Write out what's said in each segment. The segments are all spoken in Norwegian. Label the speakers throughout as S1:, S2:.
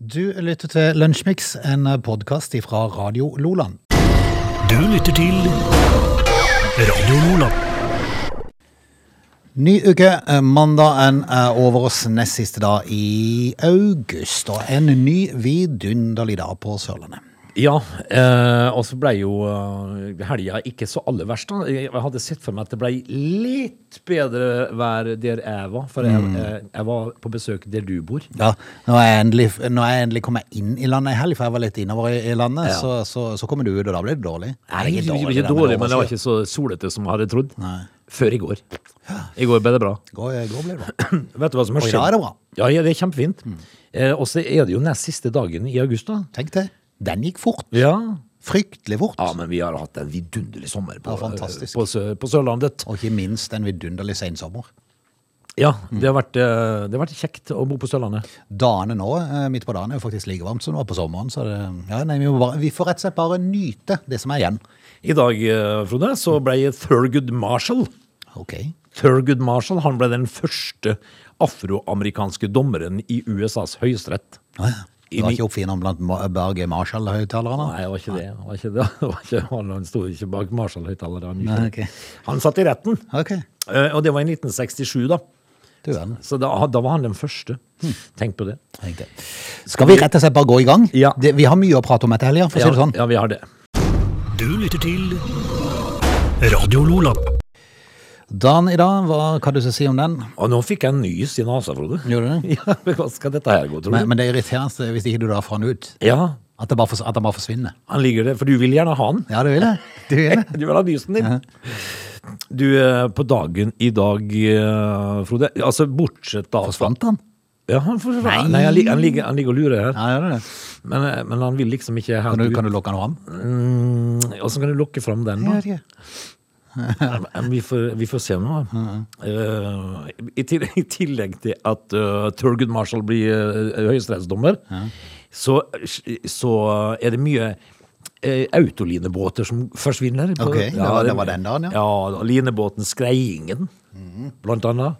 S1: Du lytter til Lunsjmix, en podkast fra Radio Loland.
S2: Du lytter til Radio Lola.
S1: Ny uke. eh, Mandagen er eh, over oss nest siste dag i august. Og en ny vidunderlig dag på Sørlandet.
S3: Ja, eh, og så ble jo eh, helga ikke så aller verst. da. Jeg hadde sett for meg at det ble litt bedre vær der jeg var, for jeg, eh, jeg var på besøk der du bor.
S1: Ja, når jeg endelig, når jeg endelig kommer inn i landet i helg, for jeg var litt innover i, i landet,
S3: Ja.
S1: så, så, så kommer du ut, og da blir det dårlig. Eller
S3: Nei, det var
S1: da,
S3: ikke dårlig, altså. men det var
S1: overskyet.
S3: ikke så solete som jeg hadde trodd.
S1: Nei.
S3: Før i går. I går ble det bra.
S1: Går, går blir det bra.
S3: Mm. Vet du hva som
S1: Og
S3: har
S1: i
S3: skjedd?
S1: dag er det bra.
S3: Ja, ja, det er kjempefint. Eh, og så er det jo nest siste dagen i august, da.
S1: Tenk det. Den gikk fort.
S3: Ja.
S1: Fryktelig fort.
S3: ja, men vi har hatt en vidunderlig sommer på,
S1: Ja,
S3: eh,
S1: fantastisk.
S3: på, Sø- på Sørlandet.
S1: Og ikke minst en vidunderlig sensommer.
S3: Ja, det har, vært, eh, det har vært kjekt å bo på Sørlandet.
S1: Dagene nå, eh, midt på dagen, er jo faktisk like varmt som det var på sommeren. Så det, ja, nei, vi, må bare, vi får rett og slett bare nyte det som er igjen.
S3: I dag, eh, Frode, så ble Thurgood Marshall
S1: Ok.
S3: Thurgood Marshall han ble den første afroamerikanske dommeren i USAs høyesterett.
S1: Ja, ja.
S3: I
S1: Det var
S3: ni-
S1: ikke oppfinneren blant Ma- Børge Marshall-høyttalerne?
S3: Nei, det var ikke det. Det Var ikke det. det var ikke, han- han sto ikke bak Marshall-høyttaleren.
S1: Nei, ok.
S3: Han satt i retten,
S1: Ok,
S3: eh, og det var i 1967, da.
S1: du er den.
S3: Så da, da var han den første.
S1: Hm.
S3: Tenk på det.
S1: Tenk det. Skal vi rett og slett bare gå i gang?
S3: Ja.
S1: Det, vi har mye å prate om etter helga, for å si det sånn.
S3: ja, vi har det.
S2: Du lytter til Radio Lola.
S1: Dagen i dag, hva kan du så si om den?
S3: Og nå fikk jeg en nys i nesa, Frode.
S1: Gjorde du det?
S3: Ja, men hva skal dette her gå, tror du?
S1: Men, men det er irriterende hvis ikke du da får den ut.
S3: Ja,
S1: At den bare, fors- at den bare forsvinner.
S3: han ligger der, for du vil gjerne ha han.
S1: Ja, du vil det? Du vil det?
S3: Du vil ha nysen din. Du, eh, på dagen i dag, eh, Frode Altså, bortsett da
S1: Forsvant den?
S3: Ja, han forsvant.
S1: Nei.
S3: Nei, han, lig- han, ligger, han ligger og lurer her.
S1: Ja, gjør det det?
S3: Men, eh, men han vil liksom ikke helt
S1: Kan du,
S3: ut.
S1: kan du lukke den fram?
S3: Mm, Åssen kan du lokke fram den, da?
S1: ikke.
S3: Eh, Vi får, vi får se nå. Eh, i, til, I tillegg til at uh, Thurgood Marshall blir eh, høyesterettsdommer, så, så er det mye eh, autolinebåter som forsvinner. på-
S1: Ok, det var- det var den dagen, ja.
S3: Ja, da, linebåten Skreiingen, blant annet.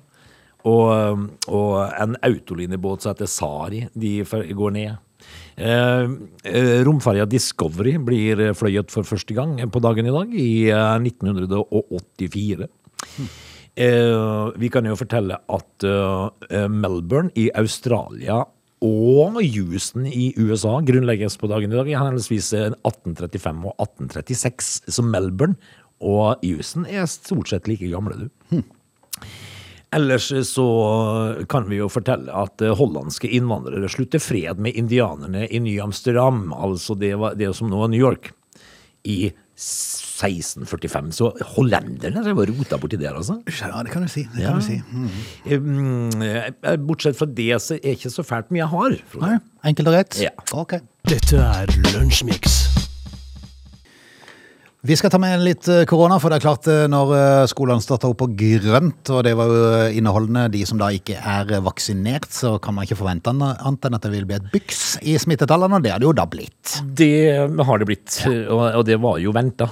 S3: Og, um, og en autolinebåt som heter Sari, de fer- går ned. Uh, Romferja Discovery blir eh, fløyet for første gang på dagen i dag, i eh, 1984. Eh, vi kan jo fortelle at eh, Melbourne i Australia og Houston i USA grunnlegges på dagen i dag i henholdsvis eh, 1835 og 1836. Så Melbourne og Houston er stort sett like gamle, du. Ellers så kan vi jo fortelle at eh, hollandske innvandrere slutter fred med indianerne i Ny-Amsterdam, altså det, var det som nå er New York, i 1645. Så hollenderne drev og rota borti der, altså.
S1: Ja, det kan du si. Det kan du si.
S3: Mm, eh, Bortsett fra det, så er ikke så fælt mye jeg har. Frode.
S1: Nei, enkelt og greit?
S3: Ja.
S1: Ok.
S2: Dette er Lunsjmix.
S1: Vi skal ta med litt eh, korona, for det er klart eh, når eh, skolene starter opp på grønt, og det var jo eh, inneholdende de som da ikke er eh, vaksinert, så kan man ikke forvente an- annet enn at det vil bli et byks i smittetallene, og det har det jo da blitt.
S3: Det eh, har det blitt, og, og det var jo venta.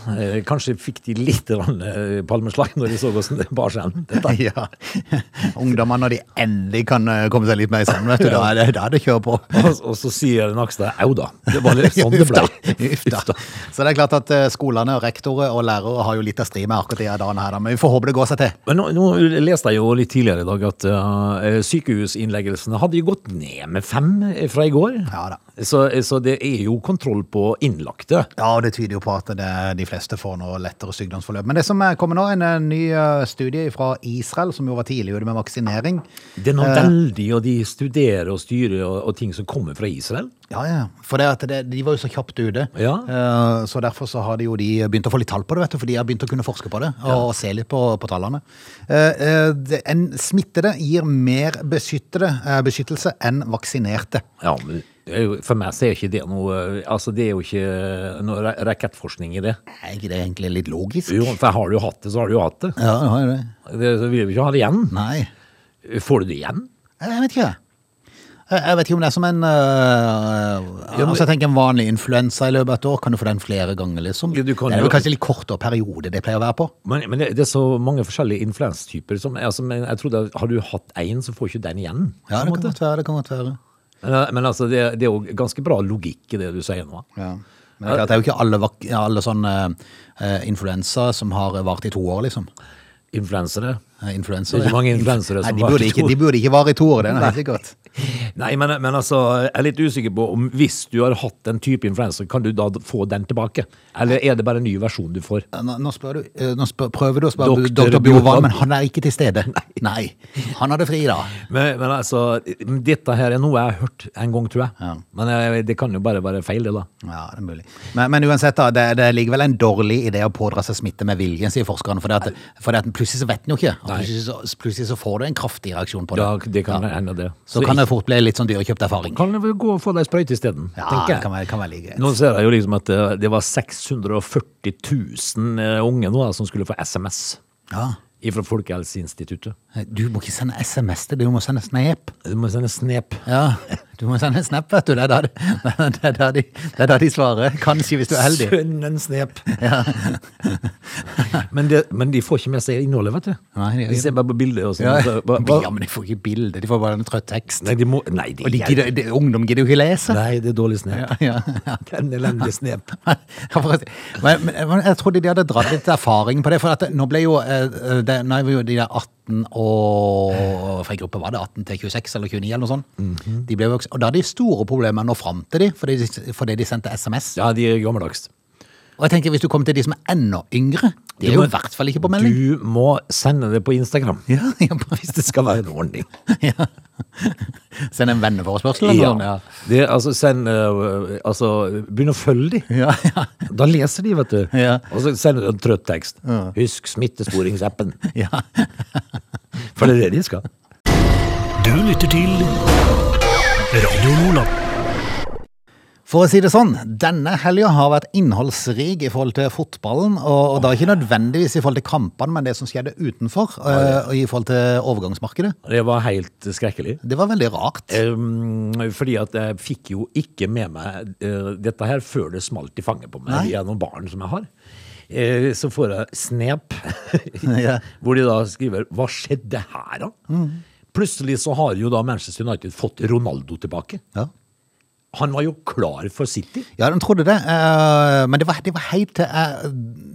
S3: Kanskje fikk de litt grann, eh, palmeslag når de så hvordan det bar seg an. Dette-
S1: Ja. Ungdommene, når de endelig kan eh, komme seg litt mer sammen, vet du, da er det, da er det kjør på.
S3: Og, og så sier Nakstad au da. Det var litt sånn det ble.
S1: Uff da. Så det er klart at eh, skolene, rektorer og lærere har jo litt å stri med akkurat i dagene her, da, men vi får håpe det går seg til.
S3: Men nå, nå leste jeg jo litt tidligere i dag at eh, sykehusinnleggelsene hadde jo gått ned med fem eh, fra i går.
S1: Ja da.
S3: Så, eh, så det er jo kontroll på innlagte.
S1: Ja, og det tyder jo på at det, de fleste får noe lettere sykdomsforløp. Men det som eh, kommer nå, en eh, ny eh, studie fra Israel, som jo var tidlig ute med vaksinering.
S3: Det er noe
S1: Eh.
S3: veldig, og de studerer og styrer og, og ting som kommer fra Israel.
S1: Ja, ja. For det at det, de var jo så kjapt ute.
S3: Ja.
S1: Eh, Så derfor så har de jo de begynt å få litt tall på det, vet du. For de har begynt å kunne forske på det og, og se litt på, på tallene. Eh, eh, det- En smittede gir mer beskyttede, eh, beskyttelse enn vaksinerte.
S3: Ja, men det er jo- for meg så er ikke det noe Altså, det er jo ikke noe ra- rakettforskning i det.
S1: Er ikke det egentlig litt logisk?
S3: Jo, for har du hatt det, så har du jo hatt det.
S1: Ja, det har jo det.
S3: det så vil vi ikke ha det igjen.
S1: Nei.
S3: Får du det igjen?
S1: Jeg vet ikke. Jeg jeg vet ikke om det er som en øh,
S3: Ja, men-
S1: altså jeg tenker En vanlig influensa i løpet av et år, kan du få den flere ganger? liksom?
S3: Ja, du kan
S1: det er
S3: jo-
S1: vel kanskje litt kortere periode det pleier å være på?
S3: Men, men det, det er så mange forskjellige influenstyper som altså, men Jeg trodde at har du hatt én, så får ikke den igjen.
S1: Ja, det
S3: på en
S1: kan
S3: måte.
S1: godt være. det kan godt være.
S3: Men, men altså, det, det er jo ganske bra logikk i det du sier nå.
S1: Ja. Men det er, klart, det er jo ikke alle, vak ja, alle sånne eh, influensa som har vart i to år, liksom.
S3: Influensere.
S1: Eh, Influenser.
S3: Det er ikke mange
S1: ja.
S3: influensere som
S1: Nei, de
S3: varer
S1: burde,
S3: i to
S1: ikke,
S3: år.
S1: de burde ikke vare i to år, det er helt sikkert.
S3: Nei, men, men altså, jeg er litt usikker på om hvis du har hatt den type influensa, kan du da få den tilbake? Eller er det bare en ny versjon du får?
S1: Nå, nå, spør du, eh, nå spør, prøver du å spørre
S3: Doktor
S1: doktor Bjorvann,
S3: Bjorvann.
S1: men han er ikke til stede. Nei. Han hadde fri da.
S3: Men, men altså, dette her er noe jeg har hørt en gang, tror jeg.
S1: Ja.
S3: Men jeg, det kan jo bare være feil, det da.
S1: Ja, det er mulig. Men, men uansett, da, det, det ligger vel en dårlig idé å pådra seg smitte med viljen, sier forskerne. For, det at, for det at plutselig så vet en jo ikke. Og
S3: Nei.
S1: Plutselig så, plutselig så får du en kraftig reaksjon på det.
S3: Ja, det kan hende det.
S1: Så kan det fort bli litt sånn dyrekjøpt erfaring.
S3: Kan du vel gå og få deg sprøyte isteden?
S1: Ja,
S3: tenker
S1: det
S3: jeg.
S1: kan være, kan være like greit.
S3: Nå ser jeg jo liksom at eh, det var 640 000 eh, unge nå da, som skulle få SMS
S1: Ja.
S3: fra Folkehelseinstituttet.
S1: Du må ikke sende SMS til det, du må sende snap.
S3: Du må sende snep.
S1: Ja, du må sende en snap, vet du. Det er da de, det er da de, det er da de svarer. Kanskje, hvis du er heldig.
S3: Sønn en snep. men, det, men de får ikke med seg innholdet, vet du.
S1: Nei, de gjør
S3: de
S1: ikke
S3: ser bare på bildet og sånn.
S1: Ja,
S3: altså, hva- hva-
S1: ja men de får ikke bilde, de får bare en trøtt tekst.
S3: Nei, de må, nei, de,
S1: Og de gidder, de, ungdom gidder jo ikke lese.
S3: nei, det er dårlig snep.
S1: Ja, ja.
S3: Det er en elendig snep.
S1: Ja, for å si- Men, men men jeg trodde de hadde dratt litt erfaring på det, for at det- nå ble jo eh, det, Nå er vi jo de der 18 og For en gruppe var det 18 til 26 eller 29 eller noe sånt. de ble jo, også- og da hadde de store problemer med å nå fram til dem, fordi, de- fordi de sendte SMS.
S3: Ja, de er gammeldags.
S1: Og jeg tenker hvis du kommer til de som er enda yngre, de
S3: Du
S1: er jo
S3: må-
S1: i hvert fall ikke på melding.
S3: Du må sende det på Instagram.
S1: Ja, ja, bare-
S3: Hvis det skal være en ordning.
S1: ja. Send en venneforespørsel eller noe.
S3: Ja. Det, er altså, send, eh, altså, begynn å følge de.
S1: Ja, ja.
S3: Da leser de, vet du.
S1: Ja.
S3: Og så sender de en trøtt tekst. Husk smittesporingsappen.
S1: ja.
S3: For det er det de skal.
S2: Du lytter til Radio Lola.
S1: For å si det sånn, denne helga har vært innholdsrik i forhold til fotballen, og, og da ikke nødvendigvis i forhold til kampene, men det som skjedde utenfor, eh, og i forhold til overgangsmarkedet.
S3: Det var helt skrekkelig.
S1: Det var veldig rart.
S3: Um, fordi at jeg fikk jo ikke med meg eh, dette her før det smalt i fanget på meg
S1: Nei.
S3: gjennom baren som jeg har. Eh, så får jeg snep,
S1: Ja. Mm.
S3: hvor de da skriver 'Hva skjedde her', da? Plutselig så har jo da Manchester United fått Ronaldo tilbake.
S1: Ja.
S3: Han var jo klar for City.
S1: Ja, de trodde det, eh, men det var, det var helt til eh,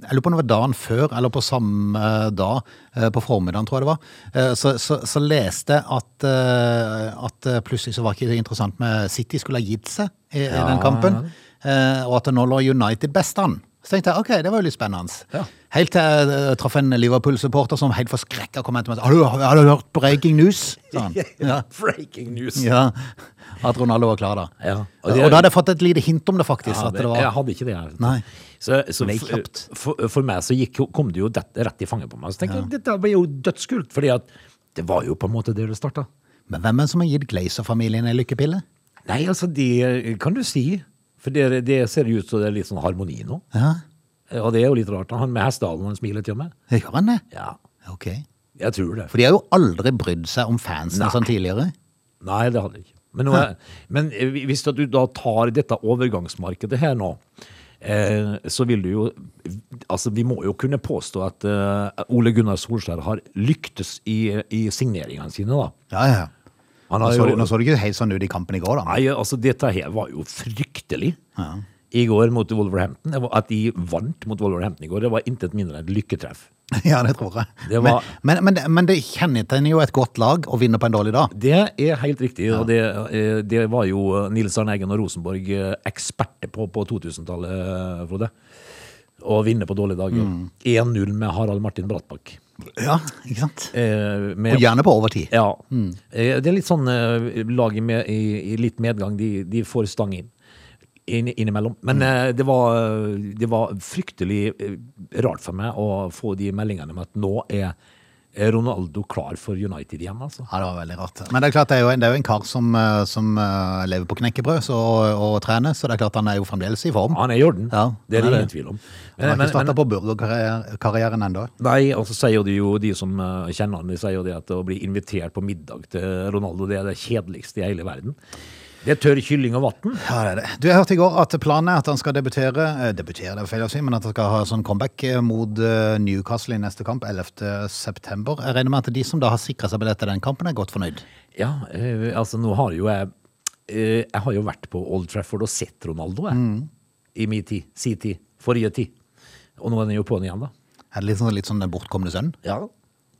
S1: Jeg lurer på om det var dagen før, eller på samme eh, dag, eh, på formiddagen, tror jeg det var. eh, Så, så, så leste jeg at, eh, at eh, plutselig så var ikke det interessant med City skulle ha gitt seg i, i den kampen. eh, Og at det nå lå United best an. Så tenkte jeg ok, det var jo litt spennende.
S3: Ja.
S1: Helt til jeg eh, traff en Liverpool-supporter som helt forskrekka kom hen til meg og sa har du hørt breaking news? sa han. Ja.
S3: Breaking news!
S1: Ja, At Ronaldo var klar, da.
S3: Ja.
S1: Og, da hadde jeg fått et lite hint om det, faktisk.
S3: Ja,
S1: at
S3: det,
S1: det var...
S3: Jeg hadde ikke det. Jeg.
S1: Nei.
S3: Så, så
S1: Det gikk
S3: for,
S1: kjapt.
S3: for, for meg så gikk, jo- kom det jo det, rett i fanget på meg. Så tenkte jeg, dette ble jo dødskult, fordi at det var jo på en måte det det starta.
S1: Men hvem er det som har gitt Glazer-familien en lykkepille?
S3: Nei, altså, det kan du si. For det, det ser ut som det er litt sånn harmoni nå.
S1: Ja,
S3: Og det er jo litt rart. da. Han med hestehalen, han smiler til meg.
S1: gjør han det?
S3: Ja,
S1: Ok.
S3: jeg tror det.
S1: For de har jo aldri brydd seg om fansen
S3: Nei.
S1: sånn tidligere.
S3: Nei, det hadde jeg ikke. Men, nå er- men eh, hvis at du da tar dette overgangsmarkedet her nå, eh, så vil du jo Altså, vi må jo kunne påstå at eh, Ole Gunnar Solskjær har lyktes i, i signeringene sine, da.
S1: Ja, ja.
S3: Han
S1: Nå
S3: har
S1: så,
S3: jo,
S1: det- nå så det ikke helt sånn ut i kampen i går, da.
S3: nei, altså, dette her var jo fryktelig. I går mot Wolverhampton. Det var- At de vant mot Wolverhampton i går, det var intet mindre enn et lykketreff.
S1: Ja, det tror jeg.
S3: Det var-
S1: men, men, men, men det kjennetegner jo et godt lag å vinne på en dårlig dag.
S3: Det er helt riktig, og det, eh, det var jo Nils Arne Eggen og Rosenborg eh, eksperter på på 2000-tallet, eh, Frode. Å vinne på dårlige dager. 1-0 med Harald Martin Brattbakk.
S1: Ja, ikke sant?
S3: Eh, med-
S1: Og gjerne på overtid.
S3: ja.
S1: Mm.
S3: Eh, Det er litt sånn eh, laget med, i, i litt medgang, de, de får stang inn. inn innimellom.
S1: Mm.
S3: Men eh, det, var, det var fryktelig eh, rart for meg å få de meldingene om at nå er er Ronaldo klar for United igjen, altså.
S1: Ja, det var veldig rart. Men det er klart, det er jo en, det er jo en kar som, eh, som eh, lever på knekkebrød så, og, og trener, så det er klart han er jo fremdeles i form.
S3: Han er i orden.
S1: Mm. Ja,
S3: det er
S1: han
S3: det
S1: er
S3: ingen tvil om. Eh,
S1: Han har
S3: Men-
S1: ikke
S3: men-
S1: starta på burgerkarrieren ennå.
S3: Nei, og så sier de jo, de som eh, kjenner han, de sier jo det at å bli invitert på middag til Ronaldo, det er det kjedeligste i hele verden. Det er tørr kylling og vann.
S1: Ja, det er det. Du, jeg hørte i går at planen er at han skal debutere eh, Debutere, det er feil å si, men at han skal ha sånn comeback eh, mot eh, Newcastle i neste kamp 11. september. Jeg regner med at de som da har sikra seg billett til den kampen, er godt fornøyd.
S3: Ja, eh, altså nå har jo jeg eh, Jeg har jo vært på Old Trafford og sett Ronaldo, jeg.
S1: Mm.
S3: I min tid. Si tid. Forrige tid. Og nå er han jo på'n igjen, da.
S1: Er det litt sånn, litt sånn den bortkomne sønn?
S3: Ja.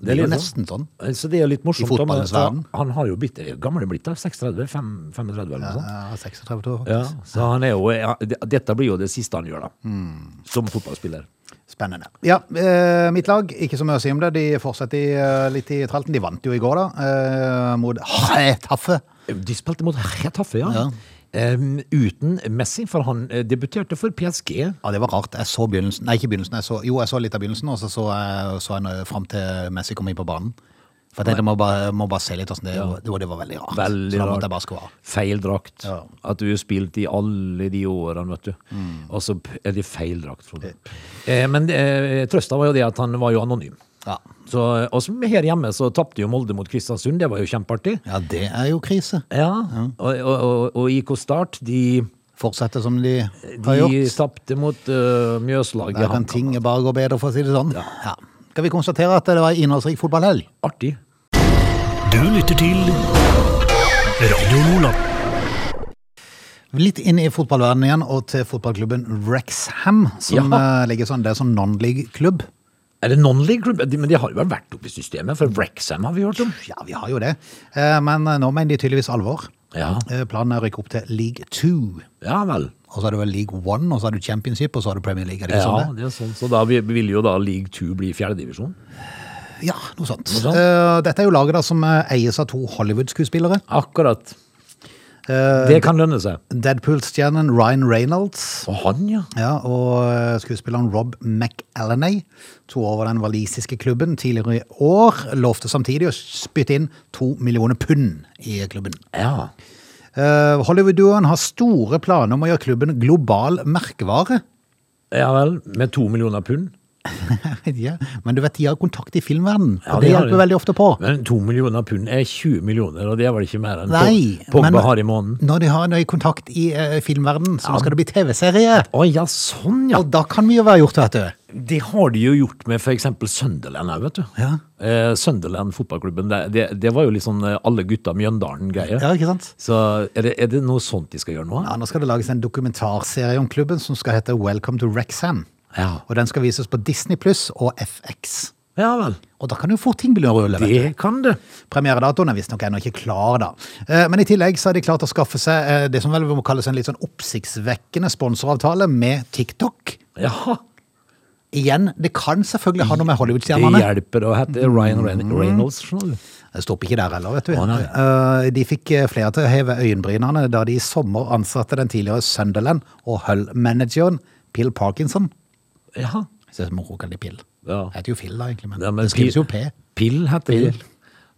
S1: Det er jo nesten sånn.
S3: Så det er jo litt morsomt. da, men
S1: fotballens verden.
S3: Han har jo blitt gamle blitt, da. 36? fem- 35 eller noe sånt.
S1: Ja, 36 år.
S3: Ja, så han er jo, ja, det- dette blir jo det siste han gjør, da.
S1: Mm.
S3: Som fotballspiller.
S1: Spennende. Ja, eh, mitt lag, ikke så mye å si om det. De fortsetter i, eh, litt i tralten. De vant jo i går, da, eh, mot Taffe.
S3: De spilte mot Retaffe, ja.
S1: Ja.
S3: Em, uten Messi, for han eh, debuterte for PSG.
S1: Ja, det var rart. Jeg så begynnelsen, nei, ikke begynnelsen, jeg så, jo, jeg så litt av begynnelsen, og så så jeg, så jeg fram til Messi kom inn på banen. For jeg tenkte, jeg må bare, må bare se litt hvordan det, det, var- det var veldig rart. så
S3: Veldig
S1: da
S3: rart.
S1: måtte jeg bare skru av.
S3: Feil drakt.
S1: Ja. Mm.
S3: At du har spilt i alle de årene, vet du. Og så p- er det feil drakt, Frode. Eh, men eh, trøsta var jo det at han var jo anonym.
S1: Ja.
S3: Så, og som her hjemme så tapte jo Molde mot Kristiansund, det var jo kjempeartig.
S1: ja, det er jo krise.
S3: Ja, Og, og, og, og IK Start, de,
S1: Fortsette som de har
S3: de
S1: gjort.
S3: tapte mot øh, Mjøslaget.
S1: Der kan
S3: HamKam.
S1: ting bare gå bedre, for å si det sånn. Ja. Skal vi konstatere at det var en innholdsrik fotballhelg?
S3: Artig.
S2: Du lytter til Radio Nordland.
S1: Litt inn i fotballverdenen igjen, og til fotballklubben Rexham, som
S3: Ja.
S1: eh, ligger sånn, det er sånn non-league-klubb.
S3: Er det non-league-klubb? De- Men de har jo vel vært oppe i systemet, for Wrexham har vi hørt om.
S1: Ja, vi har jo det. Eh, Men eh, nå mener de tydeligvis alvor.
S3: Ja,
S1: Eh, Planen er å rykke opp til League 2.
S3: ja vel.
S1: Og så er det vel League 1, og så er det Championship, og så er det Premier League. Er det ikke
S3: Ja,
S1: sånn det?
S3: det er sånn. Så da vi- vil jo da league 2 bli fjerdedivisjon.
S1: ja, noe sånt.
S3: Noe sånt.
S1: Eh, Dette er jo laget da som eh, eies av to Hollywood-skuespillere.
S3: Akkurat.
S1: Eh,
S3: Det kan lønne seg.
S1: Deadpool-stjernen Ryan Reynolds.
S3: Og han, ja.
S1: Ja, og eh, skuespilleren Rob McAllenay tok over den walisiske klubben tidligere i år. Lovte samtidig å spytte inn to millioner pund i klubben.
S3: Ja.
S1: Eh, Hollywood-duoen har store planer om å gjøre klubben global merkevare.
S3: ja vel. Med to millioner pund.
S1: ja, men du vet, de har kontakt i filmverdenen,
S3: Ja,
S1: og
S3: det
S1: det
S3: har de.
S1: hjelper veldig ofte på.
S3: Men to millioner pund er 20 millioner, og det er vel ikke mer enn
S1: Nei,
S3: Pog- Pogba
S1: men-
S3: har i måneden?
S1: Når de har nøye kontakt i eh, filmverdenen, så nå skal det bli TV-serie.
S3: Å ja, sånn ja.
S1: Og da kan mye være gjort, vet du.
S3: Det har de jo gjort med f.eks. Sunderland òg, vet du.
S1: Ja.
S3: Eh, Sunderland fotballklubben, det, det, det var jo litt sånn eh, alle gutta Mjøndalen-greie.
S1: Ja, ikke sant?
S3: Så er det, er det noe sånt de skal gjøre nå?
S1: Ja, nå skal det lages en dokumentarserie om klubben som skal hete Welcome to Rexham.
S3: Ja.
S1: Og den skal vises på Disney Pluss og FX.
S3: Ja vel.
S1: Og da kan jo fort ting begynne å rulle. vet du.
S3: Det kan det.
S1: Premieredatoen er visstnok ennå ikke klar, da. Eh, Men i tillegg så har de klart å skaffe seg eh, det som vel må kalles en litt sånn oppsiktsvekkende sponsoravtale med TikTok.
S3: Ja.
S1: Igjen, det kan selvfølgelig ha noe med
S3: Det
S1: Hollywood-stjernene.
S3: hjelper å hete Ryan Reyn- Reynolds. skjønner du.
S1: Det stopper ikke der heller, vet du.
S3: Å,
S1: Eh, De fikk eh, flere til å heve øyenbrynene da de i sommer ansatte den tidligere Sunderland og Hull-manageren Pill Parkinson.
S3: Ja.
S1: Jeg synes moro kan de Pill. Det
S3: Ja.
S1: heter jo Phil, da, egentlig, men
S3: Ja, men
S1: det skrives
S3: Pi-
S1: jo P.
S3: Pill heter
S1: Pill.
S3: Pill.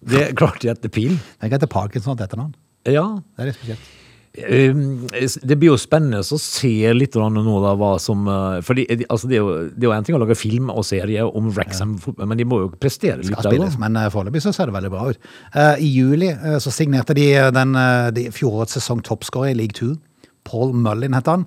S3: Det er klart det heter Pill.
S1: Tenk at det er Parkinson og et etternavn.
S3: Ja.
S1: Det er litt spesielt.
S3: Um, Det blir jo spennende å se litt grann nå da hva som uh, For de- de- altså, det er jo det er jo en ting å lage film og serie om Wrexham, fotball, men de må jo prestere litt
S1: Skal
S3: der
S1: spilles,
S3: òg.
S1: men eh, foreløpig så ser det veldig bra ut. Eh, I juli eh, så signerte de eh, den, eh, de fjorårets sesong toppskårer i League 2. Paul Mullin heter han.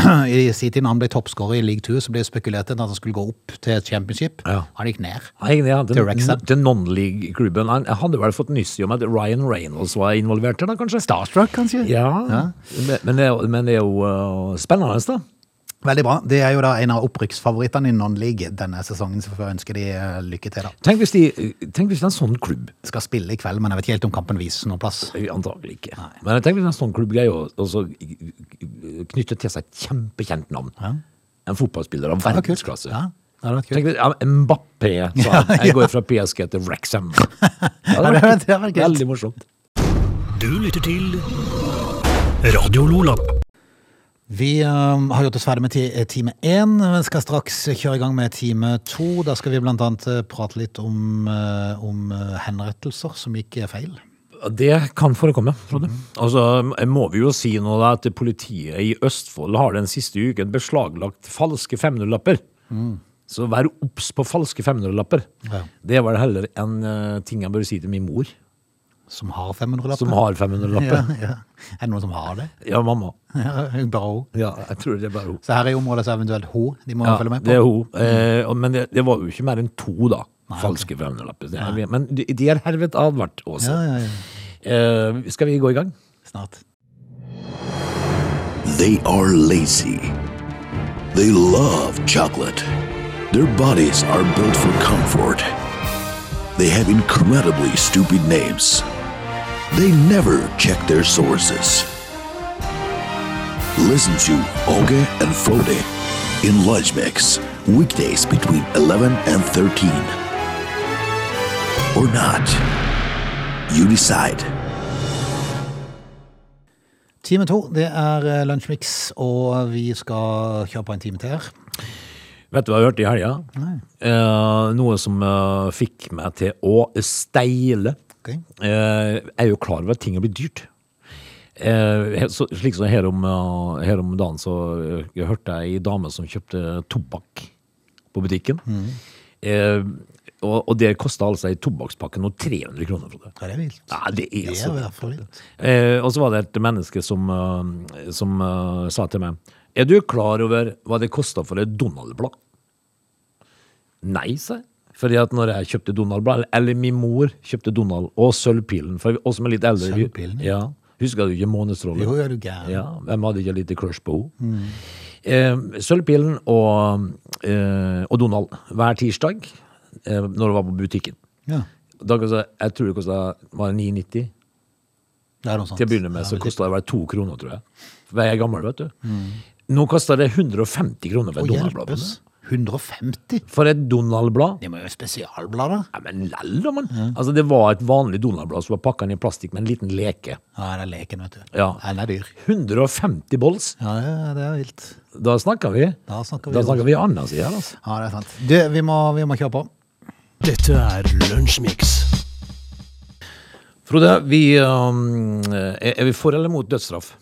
S1: I sin tid når han ble toppskårer i League 2, så ble det spekulert i at han skulle gå opp til Championship.
S3: Ja.
S1: Han gikk ned. Til Wrexham.
S3: Til non-league-klubben. Han- Jeg hadde vel fått nyss i om at Ryan Reynolds var involvert der, da, kanskje?
S1: Starstruck, kanskje?
S3: Ja, Men- Men, det er, jo- men det er jo uh, spennende, da.
S1: Veldig bra. Det er jo da en av opprykksfavorittene i non-league denne sesongen, så får jeg ønske de eh, lykke til, da.
S3: Tenk hvis, de, tenk hvis det er en sånn klubb.
S1: Skal spille i kveld, men jeg vet ikke helt om kampen vises noen plass.
S3: Antagelig ikke. Men tenk hvis det er en sånn klubb greier å og så knytte til seg et kjempekjent navn. En fotballspiller av
S1: var kult.
S3: verdensklasse.
S1: Ja, det hadde vært kult.
S3: Tenk hvis, ja, Mbappé sa han. Jeg går fra PSG til Wrexham. Ja,
S1: Ja, det hadde vært kult.
S3: Veldig morsomt.
S2: Du lytter til Radio Nordland.
S1: Vi ehm, har gjort oss ferdig med ti eh, time én, men skal straks kjøre i gang med time to. Da skal vi blant annet eh, prate litt om, eh, om eh, henrettelser som gikk eh, feil.
S3: Det kan forekomme, Frode.
S1: Mhm.
S3: Og så må vi jo si nå da at politiet i Østfold har den siste uken beslaglagt falske 500-lapper.
S1: Mhm.
S3: Så vær obs på falske 500-lapper.
S1: Ja.
S3: Det var det heller en eh, ting jeg bør si til min mor,
S1: Som har 500-lapper.
S3: som har 500-lapper.
S1: ja, ja. Er det noen som har det?
S3: Ja, mamma.
S1: Ja, Bare hun.
S3: Ja, jeg tror det er bare hun.
S1: Så her i området så er eventuelt hun de må
S3: Ja,
S1: følge med på.
S3: det er hun. Eh, og- men det, det var jo ikke mer enn to, da. Falske 500-lapper. Det er vi- Men de, de er herved advart, Åse.
S1: Ja, ja, ja.
S3: Eh, skal vi gå i gang?
S1: Snart.
S4: They are lazy. They love chocolate. Their bodies are built for comfort. They have incredibly stupid names. They never check their sources. Listen to Oge and Frode in Lunch Mix, weekdays between 11 and 13. Or not. You decide.
S1: Time to, det er eh, Lunsjmix, og vi skal kjøre på en time til her.
S3: Vet du hva jeg hørte i helga? Eh, noe som eh, fikk meg til å steile.
S1: Ok.
S3: Eh, jeg er jo klar over at ting har blitt dyrt. Eh, he- så, slik som her om, eh, her om dagen så eh, jeg hørte jeg ei dame som kjøpte tobakk på butikken.
S1: Mm.
S3: Eh, og, og der kosta altså ei tobakkspakke nå 300 kroner. Frode.
S1: Ja, det er vilt.
S3: Ja, altså. det er
S1: Det
S3: så
S1: er i
S3: vilt.
S1: hvert fall vilt.
S3: Eh, og så var det et menneske som, eh, som eh, sa til meg Er du klar over hva det kosta for et Donald-blad? Nei, sa jeg. Fordi at når jeg kjøpte Donald-blad, eller, eller min mor kjøpte Donald og Sølvpilen for oss som er litt eldre vi-
S1: Sølvpilen,
S3: ja. Husker du ikke Månedsrollen?
S1: Jo, Mm. er du gæren.
S3: Ja, hvem hadde ikke litt crush på henne? Eh, Sølvpilen og, eh, og Donald hver tirsdag eh, når hun var på butikken.
S1: Ja,
S3: Da kosta, jeg tror det kosta 9,90.
S1: det er noe sånt.
S3: Til å begynne med
S1: Ja,
S3: så
S1: det er
S3: kosta det vel to kroner, tror jeg. For jeg er gammel, vet du. Nå koster det 150 kroner
S1: Å,
S3: for et Donald-blad.
S1: hjelpes. 150?
S3: For et Donald-blad?
S1: Det må jo være spesialblader.
S3: Ja, men lell, da, mann. Altså, det var et vanlig Donald-blad som var pakka inn i plastikk med en liten leke.
S1: Ja, det er leken, vet du.
S3: Ja.
S1: Den er dyr.
S3: 150 bolls.
S1: Ja, det er- det er vilt.
S3: Da snakker vi.
S1: Da snakker vi.
S3: Da snakker vi anna side her, altså.
S1: Ja, det er sant. Du, vi må, vi må kjøre på.
S2: Dette er Lunsjmix.
S3: Frode, vi, um, er er vi for eller mot dødsstraff?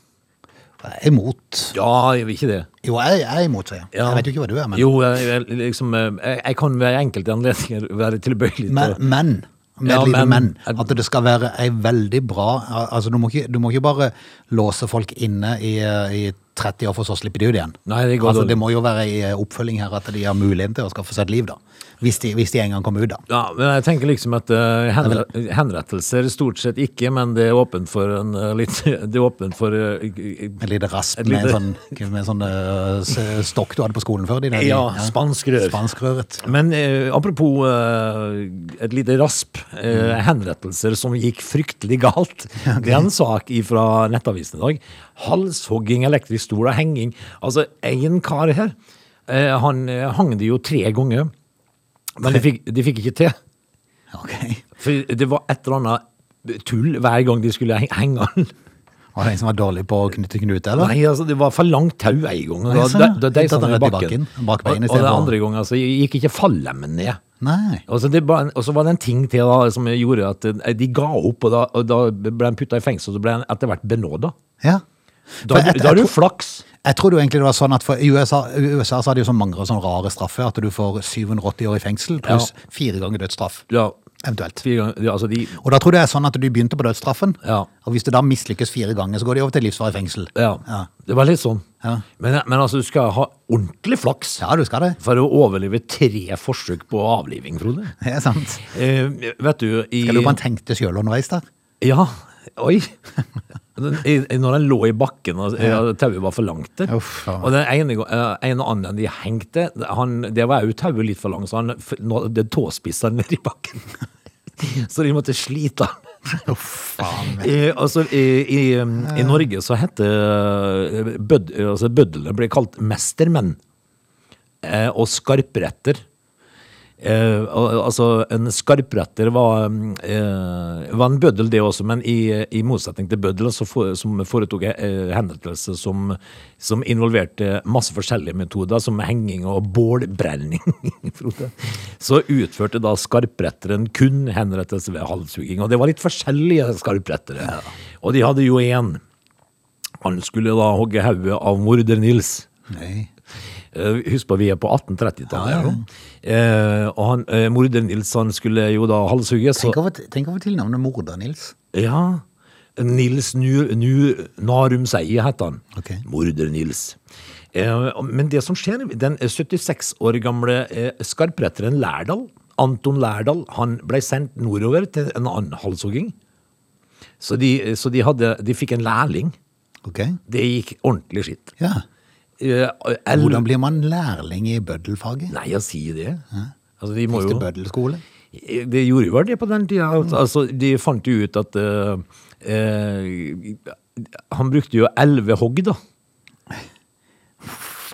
S1: Jeg er imot.
S3: Ja, er vi ikke det?
S1: Jo, jeg, jeg er imot, sier jeg.
S3: Ja.
S1: Jeg vet jo ikke hva du er, men
S3: Jo, jeg, jeg, liksom, jeg, jeg kan ved enkelte anledninger være tilbøyelig til
S1: Men,
S3: å-
S1: men med
S3: Ja,
S1: et lite men,
S3: men-
S1: at det skal være ei veldig bra al- Altså, du må ikke, du må ikke bare låse folk inne i, eh, i 30 år, for så slippe de ut igjen.
S3: Nei, det går
S1: altså,
S3: dårlig.
S1: det må jo være ei eh, oppfølging her at de har muligheten til å skaffe seg et liv, da. Hvis de, hvis de en gang kommer ut, da.
S3: Ja, men jeg tenker liksom at eh, henre henrettelser stort sett ikke, men det er åpent for en eh, litt Det er åpent for eh, g-
S1: Et lite rasp
S3: Et
S1: med
S3: lite-
S1: en sånn, med en sånn eh, s- stokk du hadde på skolen før. De, der-
S3: Ja, spanskrør.
S1: Spanskrøret.
S3: Men eh, apropos eh, et lite rasp. eh, henrettelser som gikk fryktelig galt. Det er en sak fra Nettavisen i dag. Halshogging, elektrisk stol og henging. Altså, en kar her, eh, han eh, hang det jo tre ganger, men de fikk, de fikk ikke til.
S1: Ok.
S3: For det var et eller annet tull hver gang de skulle heng- henge han.
S1: Var det en som var dårlig på å knytte knute, eller?
S3: Nei, altså, det var for langt tau en gang. og
S1: Nei,
S3: Da,
S1: sånn,
S3: da,
S1: ja.
S3: da deisa
S1: Tatt den
S3: han i
S1: rett i
S3: bakken.
S1: bakken, bak beinet
S3: og, og den
S1: istedenfor.
S3: andre gangen så gikk ikke fallemmen ned.
S1: Nei.
S3: Og så, det var en- og så var det en ting til da, som gjorde at eh, de ga opp, og da, og da ble han putta i fengsel, og så ble han etter hvert benåda.
S1: Ja.
S3: Da,
S1: For jeg-
S3: da har
S1: jeg
S3: du
S1: tror-
S3: flaks.
S1: Jeg trodde jo egentlig det var sånn at for i USA, i USA så hadde jo så mange sånne rare straffer at du får 780 år i fengsel pluss
S3: Ja.
S1: fire ganger dødsstraff,
S3: Ja,
S1: eventuelt.
S3: fire ganger, ja, altså de,
S1: Og da trodde jeg sånn at du begynte på dødsstraffen,
S3: Ja.
S1: og hvis du da mislykkes fire ganger, så går de over til livsvarig fengsel.
S3: ja,
S1: Ja.
S3: Det var litt sånn.
S1: Ja.
S3: Men, men altså, du skal ha ordentlig flaks
S1: Ja, du skal det.
S3: for å overleve tre forsøk på avliving, Frode.
S1: Det er sant.
S3: Eh, vet du i,
S1: Jeg lurer på om han tenkte sjøl underveis der.
S3: Ja, oi. Den- i- i- Når han lå i bakken og ja. tauet var for langt. der.
S1: Uff, ja.
S3: og den ene, go- eh, ene andre de hengte, han, det var jo tauet litt for langt, så han f- nådde tåspissene ned i bakken. Så de måtte slite han.
S1: Faen.
S3: Eh, altså, i, i, I Norge så heter eh, bød, altså, bødlene ble kalt mestermenn eh, og skarpretter. Eh, al- altså, en skarpretter var, mm, eh, var en bøddel, det også, men i, i motsetning til bøddelen, så for, som foretok eh, henrettelse som, som involverte masse forskjellige metoder, som henging og bålbrenning. Frode. så utførte da skarpretteren kun henrettelse ved halshugging, og det var litt forskjellige skarprettere. Og de hadde jo én. Han skulle da hogge hodet av morder Nils.
S1: Nei.
S3: Eh, Husk på, vi er på 1830-tallet. her nå. Eh, og han, eh, morder Nils han skulle jo da halshugges.
S1: Tenk
S3: og-
S1: over, tenk over tilnavnet morder, Nils.
S3: Ja, Nils Nu, nu Narum Seie het han.
S1: Ok.
S3: Morder Nils. Eh, og- men det som skjer, den 76 år gamle eh, skarpretteren Lærdal, Anton Lærdal, han ble sendt nordover til en annen halshugging. Så de, så de, hadde, de fikk en lærling.
S1: Ok.
S3: Det gikk ordentlig skitt.
S1: Ja.
S3: Eh, el-
S1: Hvordan blir man lærling i bøddelfaget?
S3: Nei, å si det. Altså, de må
S1: Hvis det
S3: jo
S1: er bøddelskole?
S3: Det gjorde vel det på den tida.
S1: Mm.
S3: Altså, de fant jo ut at eh, eh, Han brukte jo elleve hogg, da.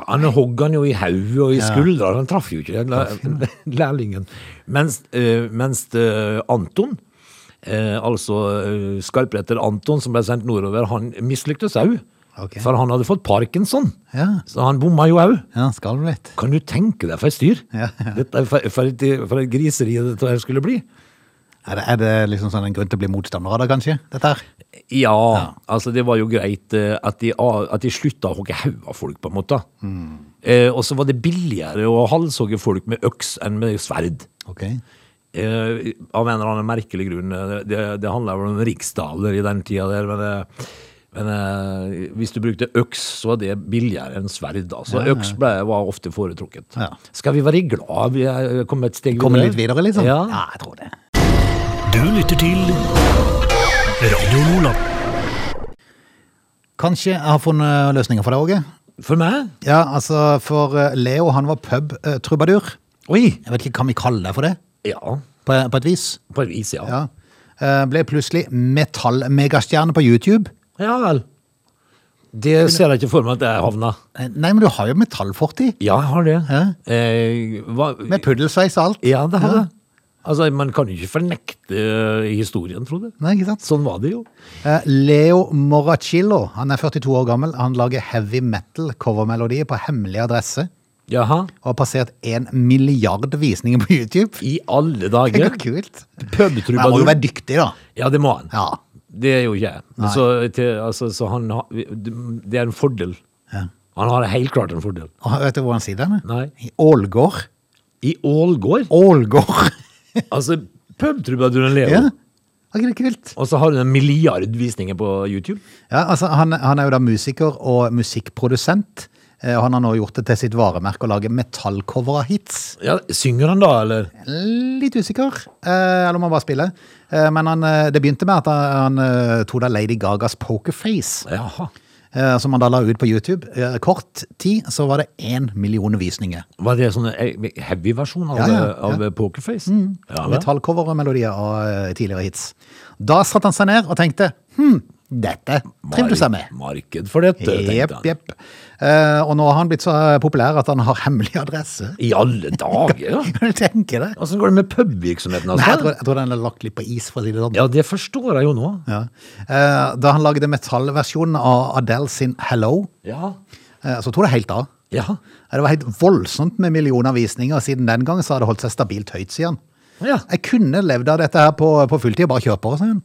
S3: Han hogg han jo i hodet og i skuldra. Han traff jo ikke den læ- lærlingen. Mens, eh, mens eh, Anton, eh, altså eh, skarpretter Anton som ble sendt nordover, han mislyktes òg.
S1: Ok.
S3: For han hadde fått parkinson.
S1: Ja.
S3: Så han bomma jo òg.
S1: Ja, skal du vite.
S3: Kan du tenke deg for et styr?
S1: Ja, ja.
S3: Dette er for, for, et, for et griseri dette her skulle bli.
S1: Er det, er det liksom sånn en grunn til å bli motstander av det, kanskje? Dette her?
S3: Ja, altså det var jo greit eh, at de, a- at de slutta å hogge hauger av folk, på en måte.
S1: Mm.
S3: Eh, og så var det billigere å halshogge folk med øks enn med sverd.
S1: Ok.
S3: Eh, av en eller annen merkelig grunn. Eh, Det, det handla vel om riksdaler i den tida der, men, eh, men eh, hvis du brukte øks, så var det billigere enn sverd. da. Så øks ble, var ofte foretrukket.
S1: Ja.
S3: Skal vi være glad vi er kommet et steg
S1: Kommer litt videre, liksom?
S3: Ja.
S1: ja, jeg tror det.
S2: Du lytter til Radio Lola.
S1: Kanskje jeg har funnet eh, løsninger for deg, Åge?
S3: For meg?
S1: Ja, altså, for eh, Leo, han var pub-trubadur.
S3: Oi!
S1: Jeg vet ikke, kan vi kalle deg for det?
S3: Ja,
S1: På, på et vis?
S3: på et vis, ja. Ja,
S1: Ja. Eh, Ble plutselig metallmegastjerne på YouTube.
S3: vel. Det ser jeg ikke for meg at jeg havna.
S1: Eh, Nei, men du har jo metallfortid.
S3: Ja, jeg har det.
S1: Ja.
S3: Eh, hva,
S1: Med puddelsveis og alt.
S3: ja, det har jeg. Altså, man kan jo ikke fornekte eh, historien, tror jeg.
S1: Nei, ikke sant?
S3: Sånn var det jo.
S1: Eh, Leo Moracillo, han er 42 år gammel. Han lager heavy metal covermelodier på hemmelig adresse.
S3: Jaha.
S1: Og har passert en milliard visninger på YouTube.
S3: I alle
S1: Det
S3: dager.
S1: er kult. Men han må jo
S3: Pubtrubadur.
S1: være dyktig, da.
S3: Ja, det må han.
S1: Ja.
S3: Det er jo ikke jeg. Men Så, til, altså, så han har Det er en fordel.
S1: Ja.
S3: Han har helt klart en fordel.
S1: Og vet du hvor han sier den?
S3: Nei.
S1: I Ålgård.
S3: I Ålgård?
S1: Ålgård!
S3: Altså, pubtrubaduren lever.
S1: ja. Var ikke det kult?
S3: Og så har hun en milliard visninger på YouTube.
S1: Ja, altså, han, han er jo da musiker og musikkprodusent. eh, Og han har nå gjort det til sitt varemerke å lage metallcover av hits.
S3: Ja, Synger han da, eller?
S1: Litt usikker, eh, eller om han bare spiller. Eh, Men han, eh, det begynte med at han eh, tok da Lady Gagas Pokerface,
S3: Jaha.
S1: eh, som han da la ut på YouTube. Eh, Kort tid så var det én million visninger.
S3: Var det sånn eh, heavy versjon av,
S1: Ja,
S3: eh,
S1: ja, Mm.
S3: av Pokerface? Ja, vel.
S1: Metallcover og melodier av eh, tidligere hits. Da satte han seg ned og tenkte hm, dette trivdes jeg med.
S3: Mark- Marked for dette, tenkte
S1: Jepp,
S3: han.
S1: jepp. Eh, Og nå har han blitt så eh, populær at han har hemmelig adresse.
S3: I alle dager, da!
S1: Kan du tenke deg?
S3: Åssen går det med pubvirksomheten?
S1: Nei, jeg tror,
S3: Altså?
S1: jeg tror den er lagt litt på is, for å si det sånn.
S3: Ja, det forstår jeg jo nå.
S1: Ja. Eh, Da han lagde metallversjonen av Adele sin Hello,
S3: Ja.
S1: eh, så tok det helt av. Eh,
S3: Ja.
S1: Det var helt voldsomt med millioner visninger, og siden den gang så har det holdt seg stabilt høyt, sier han.
S3: Ja.
S1: Jeg kunne levd av dette her på, på fulltid, bare kjør på, sier han.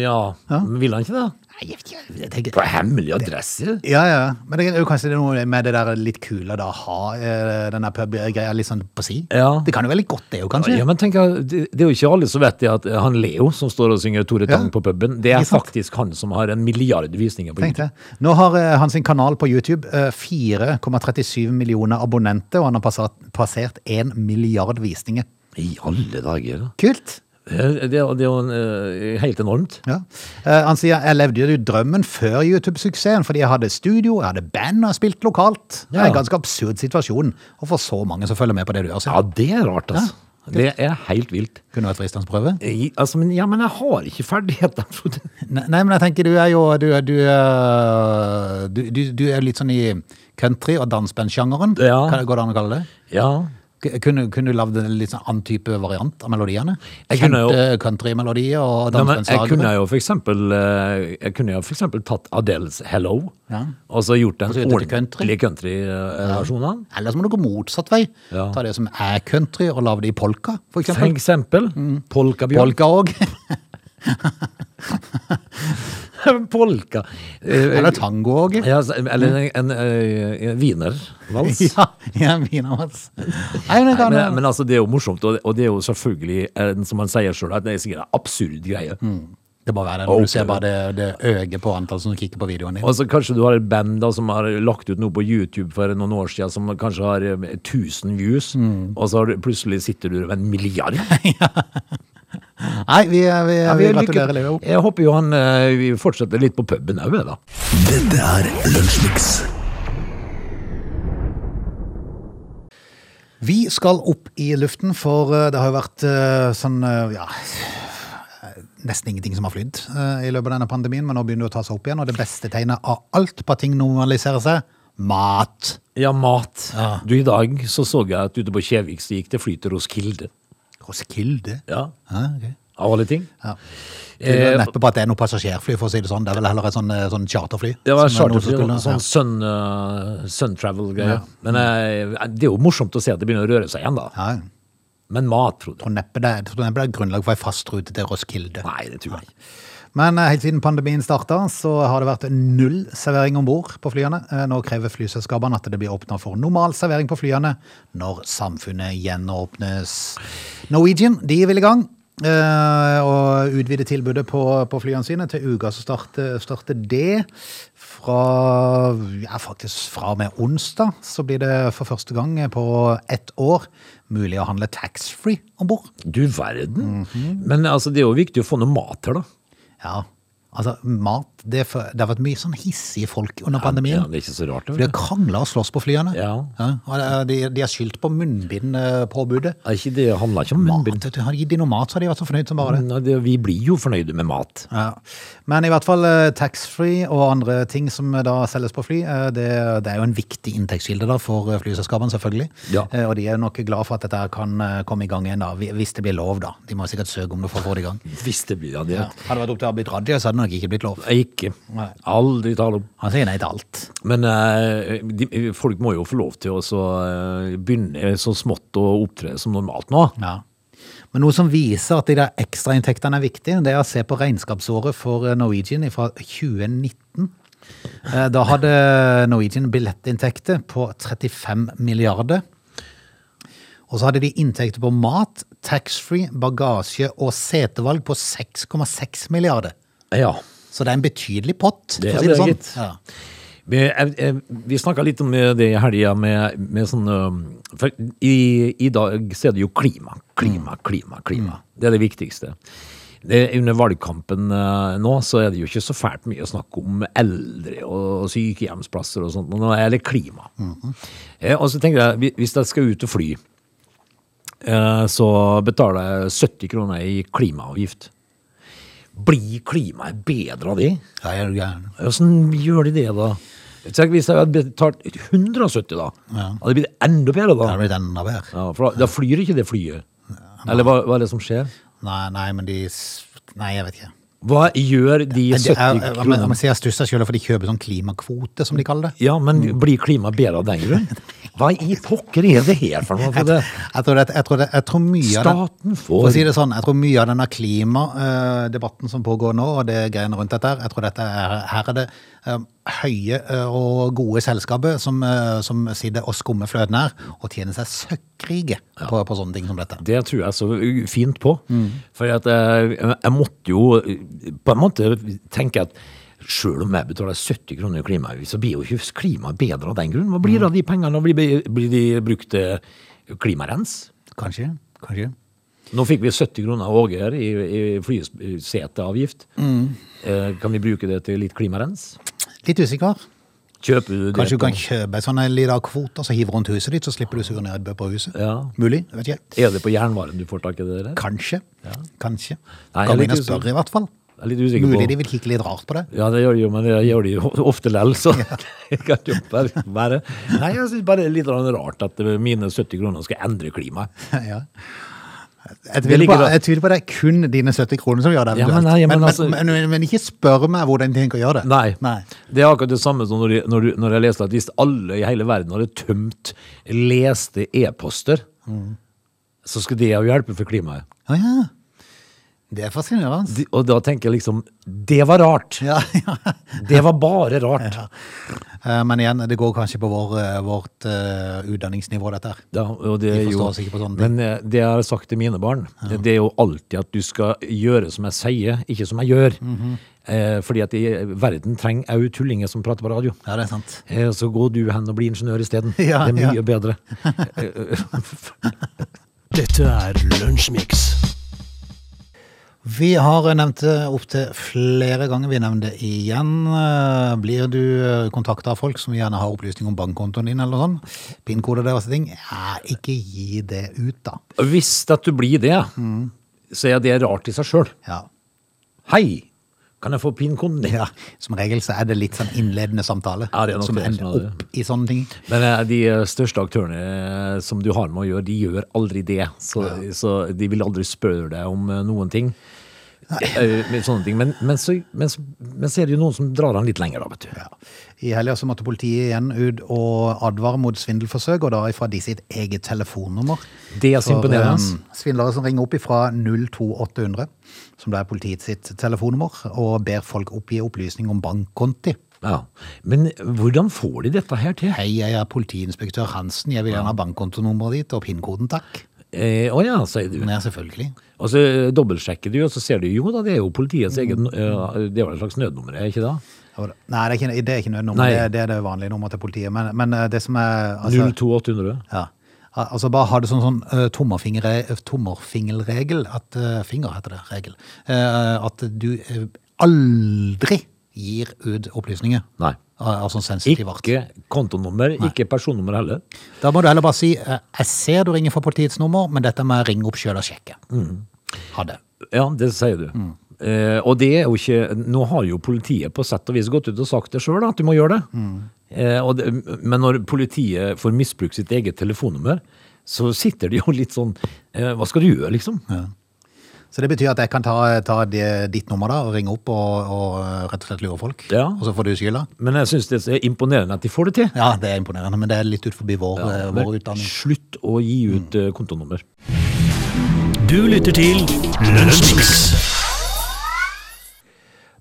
S3: ja. Men Vil han ikke det?
S1: Nei, jeg vet ikke, jeg tenker...
S3: På hemmelig adresse?
S1: Ja, ja, men det er jo kanskje det er noe med det der litt kule da, å ha eh, den der pub-greia litt sånn på si.
S3: Ja.
S1: Det kan jo være litt godt det jo, kanskje.
S3: Ja, men tenk, Det det er jo ikke alle som vet det at eh, han Leo som står og synger Tore Tang
S1: Ja.
S3: på puben, det er
S1: Ikke sant?
S3: faktisk han som har en milliard visninger på
S1: Tenk
S3: YouTube.
S1: det. Nå har eh, han sin kanal på YouTube eh, 4,37 millioner abonnenter, og han har passert, passert 1 milliard visninger.
S3: I alle dager, da.
S1: Kult!
S3: Det, det, er- det er jo en, eh, helt enormt.
S1: Ja. Eh, Han sier jeg levde jo drømmen før YouTube-suksessen, fordi jeg hadde studio, jeg hadde band og jeg spilte lokalt. Det er
S3: Ja.
S1: en ganske absurd situasjon å få så mange som følger med på det du gjør.
S3: Ja,
S1: Siv.
S3: det er rart, altså. det er helt vilt.
S1: Kunne vært fristende å prøve.
S3: I, altså, men, ja, men jeg har ikke ferdigheter, Frode.
S1: Ne- Nei, men jeg tenker du er jo du, er- du, er- du, du, du er litt sånn i country- og dansebandsjangeren.
S3: Ja.
S1: Kan- Går det an å kalle det?
S3: Ja.
S1: K- Kunne, kunne du lagd en litt sånn annen type variant av melodiene?
S3: Jeg kunne jo-
S1: Kjente countrymelodier og
S3: Nei, men jeg kunne
S1: dansbandslagere.
S3: jo for eksempel, eh, jeg kunne jo for eksempel tatt Adels Hello,
S1: Ja.
S3: og så gjort den
S1: Og så gjort det til country.
S3: ordentlige country-versjonen.
S1: Eller så må du gå motsatt vei.
S3: Ja.
S1: Ta det som er country og lage det i polka, for
S3: For
S1: eksempel. Mm.
S3: eksempel Polkabjørn.
S1: Polka òg.
S3: Polka. Eh,
S1: Eller tango òg.
S3: Ja, så- eller en, en, eh, en wienervals.
S1: Ja, ja, vina hans. Nei, men, det
S3: Nei,
S1: kan,
S3: men, men altså, det er jo morsomt, og det, og det er jo selvfølgelig, en, som han sier sjøl, at det er sikkert en
S1: Mm.
S3: absurd greie.
S1: det bare er det. når
S3: Ok.
S1: Du ser bare det, det øget på antall som kikker på videoen din.
S3: Og så Kanskje du har et band da som har lagt ut noe på YouTube for noen år siden som
S1: Mm.
S3: kanskje har eh, 1000 views, og så har du, plutselig sitter du med en milliard.
S1: Nei, vi, vi, vi
S3: Jeg vil lykke-
S1: gratulerer Leo.
S3: Jeg håper jo han eh, vi fortsetter litt på puben òg, da.
S4: Dette er Lunsjmix.
S1: Vi skal opp i luften, for eh, det har jo vært eh, sånn eh, ja, nesten ingenting som har flydd eh, i løpet av denne pandemien, men nå begynner det å ta seg opp igjen, og det beste tegnet av alt på at ting normaliserer seg, mat.
S3: Ja, mat. Du, i dag så så jeg at ute på Kjevik så gikk det fly til Roskilde.
S1: Roskilde?
S3: Ja,
S1: Ja, ok.
S3: av alle ting.
S1: Ja. Det er
S3: Eh,
S1: neppe på at det er noe passasjerfly, for å si det sånn. Det er vel heller et sånn, eh, sånn charterfly.
S3: Det var
S1: som er noe som
S3: charterfly,
S1: skulle-
S3: sånn sun, eh, sun travel-greie. Men eh, det er jo morsomt å se at det begynner å røre seg igjen, da.
S1: Ja. Ja. Jeg
S3: Men mat, Frode?
S1: tror neppe det jeg tror neppe det er grunnlag for ei fast rute til Roskilde.
S3: Nei, det tror jeg ikke.
S1: Men eh, helt siden pandemien starta, så har det vært null servering om bord på flyene. Eh, Nå krever flyselskapene at det blir åpna for normal servering på flyene når samfunnet gjenåpnes. Norwegian de vil i gang. eh, og utvide tilbudet på, på flyene sine. Til uka så starter, starter det. Fra, ja, faktisk fra og med onsdag så blir det for første gang på ett år mulig å handle taxfree om bord.
S3: Du verden. Men altså, det er jo viktig å få noe mat her, da.
S1: Ja. Altså, mat Det, er for, det har vært mye sånn hissige folk under
S3: Ja,
S1: pandemien.
S3: det er ikke så rart.
S1: For de
S3: Det,
S1: har krangla og slåss på flyene.
S3: Ja.
S1: og det- de, de har skyldt på munnbindpåbudet.
S3: er ikke, det handler ikke om
S1: Mat,
S3: munnbind.
S1: vet du. Hadde de gitt de noe mat, så hadde de vært så fornøyd som bare det.
S3: Nei, det- Vi blir jo fornøyde med mat.
S1: Ja. Men i hvert fall eh, taxfree og andre ting som eh, da selges på fly, eh, det, det er jo en viktig inntektskilde da for eh, flyselskapene, selvfølgelig.
S3: Ja.
S1: Eh, Og de er nok glad for at dette her kan eh, komme i gang igjen, da, hvi- hvis det blir lov, da. De må sikkert søke om det for å få det i gang.
S3: Hvis det blir av det.
S1: Ja. Hadde det vært opp til Abid Raja, så hadde det nok ikke blitt lov.
S3: Ikke.
S1: Nei.
S3: Aldri tale om.
S1: Han sier nei til alt.
S3: Men eh, de, folk må jo få lov til å så, eh, begynne så smått å opptre som normalt nå.
S1: Ja. Men noe som viser at de der ekstrainntektene er viktige, det er å se på regnskapsåret for eh, Norwegian fra 2019. Eh, Da hadde Norwegian billettinntekter på 35 milliarder. Og så hadde de inntekter på mat, taxfree, bagasje og setevalg på 6,6 milliarder.
S3: Ja.
S1: Så det er en betydelig pott,
S3: Det
S1: for å
S3: er
S1: si det
S3: det,
S1: sånn.
S3: gitt.
S1: Ja.
S3: Vi, jeg- jeg- vi snakka litt om eh, det i helga med, med sånn um, For i, i dag så er det jo klima. Klima, klima, klima. Det er det viktigste. Det, under valgkampen eh, nå så er det jo ikke så fælt mye å snakke om eldre og sykehjemsplasser og sånt, men nå er det klima. Eh, Og så tenker jeg, hvi- hvis jeg skal ut og fly, eh, så betaler jeg 70 kroner i klimaavgift. Blir klimaet bedre av det?
S1: Ja, er du gæren?
S3: Hvordan gjør de det, da? Tenk hvis jeg hadde betalt 170, da. Hadde det blitt enda bedre,
S1: Det
S3: da?
S1: er blitt enda bedre.
S3: Ja, for da, da flyr ikke det flyet. Eller hva, hva er det som skjer?
S1: Nei, nei, men de s- Nei, jeg vet ikke.
S3: Hva gjør de
S1: Men det er- jeg-
S3: 70
S1: jeg- jeg må
S3: kronene?
S1: si Jeg stusser selv, for de kjøper sånn klimakvote, som de kaller det.
S3: Ja, men blir klimaet bedre av den grunn? Hva i pokker er det her for noe? For det?
S1: Jeg tror, det, jeg tror, det, jeg tror mye av den-
S3: Staten får-
S1: For å si det sånn, jeg tror mye av denne klimadebatten som pågår nå, og det greiene rundt dette her, jeg tror dette er, her er det eh, høye eh, og gode selskaper som, eh, som sitter og skummer fløten her, og tjener seg søkkrike på, på sånne ting som dette.
S3: Det tror jeg så fint på. For at jeg, jeg måtte jo på en måte tenke at selv om jeg betaler 70 kroner i klimaavgift, så blir jo ikke klimaet bedre av den grunn. Hva blir det av de pengene? Blir, blir de brukt til klimarens?
S1: Kanskje? Kanskje?
S3: Nå fikk vi 70 kroner av Åge her i, i flyseteavgift. Eh, kan vi bruke det til litt klimarens?
S1: Litt usikker.
S3: Kjøper du det?
S1: Kanskje du
S3: på-
S1: kan kjøpe en sånn liten kvote og så hive rundt huset ditt, så slipper du sur nedbør på huset?
S3: Ja.
S1: Mulig? Jeg vet ikke.
S3: Er det på jernvaren du får tak i det der?
S1: Kanskje. Kanskje.
S3: Nei, jeg er
S1: kan vi
S3: litt
S1: inn og
S3: usikker.
S1: spørre, i hvert fall.
S3: Jeg er litt usikker
S1: Mulig
S3: på.
S1: de vil kikke litt rart på det.
S3: Ja, det gjør de jo, men det gjør de jo ofte lell, så jeg kan ikke bare være. Nei, jeg synes bare det er litt sånn rart at mine 70 kroner skal endre klimaet.
S1: Ja. Jeg
S3: Det
S1: tviler,
S3: ligger
S1: på,
S3: da-
S1: jeg tviler på det er kun dine 70 kroner som gjør det.
S3: Ja,
S1: eventuelt.
S3: men nei, ja, men
S1: men,
S3: altså-
S1: men, men, men ikke spør meg hvordan de tenker å gjøre det.
S3: Nei. Det er akkurat det samme som når, de, når, du, når jeg leste at hvis alle i hele verden hadde tømt leste e-poster, så skulle det jo hjelpe for klimaet.
S1: Å ja. Det er fascinerende.
S3: De, og da tenker jeg liksom, det var rart.
S1: Ja, ja.
S3: Det var bare rart.
S1: Eh, Men igjen, det går kanskje på vår, eh, vårt eh, utdanningsnivå, dette her.
S3: Ja, og det
S1: De
S3: er jo,
S1: forstår seg ikke på sånne ting.
S3: men eh, det jeg har sagt til mine barn, det er jo alltid at du skal gjøre som jeg sier, ikke som jeg gjør.
S1: Mhm.
S3: eh, fordi at i verden trenger òg tullinger som prater på radio.
S1: Ja, det er sant.
S3: Eh, så går du hen og blir ingeniør isteden.
S1: Ja,
S3: det er mye
S1: ja.
S3: bedre.
S2: Dette er Lunsjmix.
S1: Vi har nevnt det opptil flere ganger. Vi nevner det igjen. Eh, Blir du kontakta av folk som gjerne har opplysning om bankkontoen din eller sånn? PIN-kode deres ting? Ja, ikke gi det ut, da.
S3: Hvis at du blir det,
S1: Mhm.
S3: så er det rart i seg sjøl.
S1: Ja.
S3: Hei, kan jeg få pinkoden din?
S1: ja. Som regel så er det litt sånn innledende samtale
S3: Ja, det er nok
S1: som
S3: det som
S1: ender
S3: er det.
S1: opp i sånne ting.
S3: Men eh, de største aktørene eh, som du har med å gjøre, de gjør aldri det. Så, så de vil aldri spørre deg om eh, noen ting. Eh, med Sånne ting. Men, men, så, men, så, men så er det jo noen som drar den litt lenger, da, vet du.
S1: Ja. I helga så måtte politiet igjen ut og advare mot svindelforsøk, og da fra de sitt eget telefonnummer.
S3: Det er så
S1: For,
S3: imponerende.
S1: eh, svindlere som ringer opp ifra 02800, som da er politiet sitt telefonnummer, og ber folk oppgi opplysning om bankkonti.
S3: Ja. Men eh, hvordan får de dette her til?
S1: Hei, jeg er politiinspektør Hansen, jeg vil gjerne ha bankkontonummeret ditt og PIN-koden, takk.
S3: Eh, Å ja, sier du.
S1: Ja, selvfølgelig.
S3: Og så eh, dobbeltsjekker du, og så ser du jo da, det er jo politiets eget eh, Det var et slags nødnummer, er det ikke det?
S1: Ja, da. Nei, det er ikke, det er ikke nødnummer,
S3: Nei.
S1: det, det er det vanlige nummeret til politiet, men, men eh, det som er... altså-
S3: 02800.
S1: Ja. Al- Altså bare ha det sånn, sånn eh, tommerfingre- eh, tommerfingelregel, at eh, finger heter det, regel, Eh, at du eh, aldri gir ut opplysninger
S3: Nei.
S1: av, av sånn sensitiv art.
S3: Ikke kontonummer, ikke personnummer heller.
S1: Da må du heller bare si, eh, jeg ser du ringer fra politiets nummer, men dette må jeg ringe opp selv og sjekke.
S3: Mm.
S1: Ha det.
S3: Ja, det sier du.
S1: Mm.
S3: Eh, og det er jo ikke Nå har jo politiet på sett og vis gått ut og sagt det sjøl, at du må gjøre det.
S1: Mm.
S3: Eh, og det. Men når politiet får misbrukt sitt eget telefonnummer, så sitter de jo litt sånn eh, Hva skal du gjøre, liksom?
S1: Så det betyr at jeg kan ta, ta det, ditt nummer da, og ringe opp og, og eh, rett og slett lure folk,
S3: Ja.
S1: og så får du skylda.
S3: Men jeg syns det er imponerende at de får det til.
S1: Ja, det er imponerende, men det er litt ut forbi vår, eh, vår utdanning. Mm.
S3: Slutt å gi ut eh, kontonummer.
S2: Du lytter til Lunsjmix.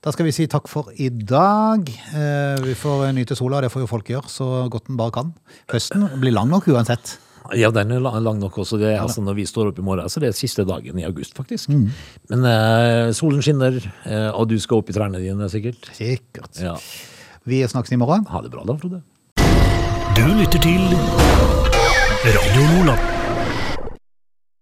S1: Da skal vi si takk for i dag. Eh, vi får nyte sola, det får jo folk gjøre så godt den bare kan. Høsten blir lang nok uansett.
S3: Ja, den er la- lang nok også. Det er, altså, når vi står opp i morgen, så det er siste dagen i august, faktisk.
S1: Mm.
S3: Men eh, solen skinner, eh, og du skal opp i trærne dine, sikkert.
S1: Sikkert.
S3: Ja.
S1: Vi snakkes i morgen.
S3: Ha det bra da, Frode.
S2: Du lytter til Radio Nordland.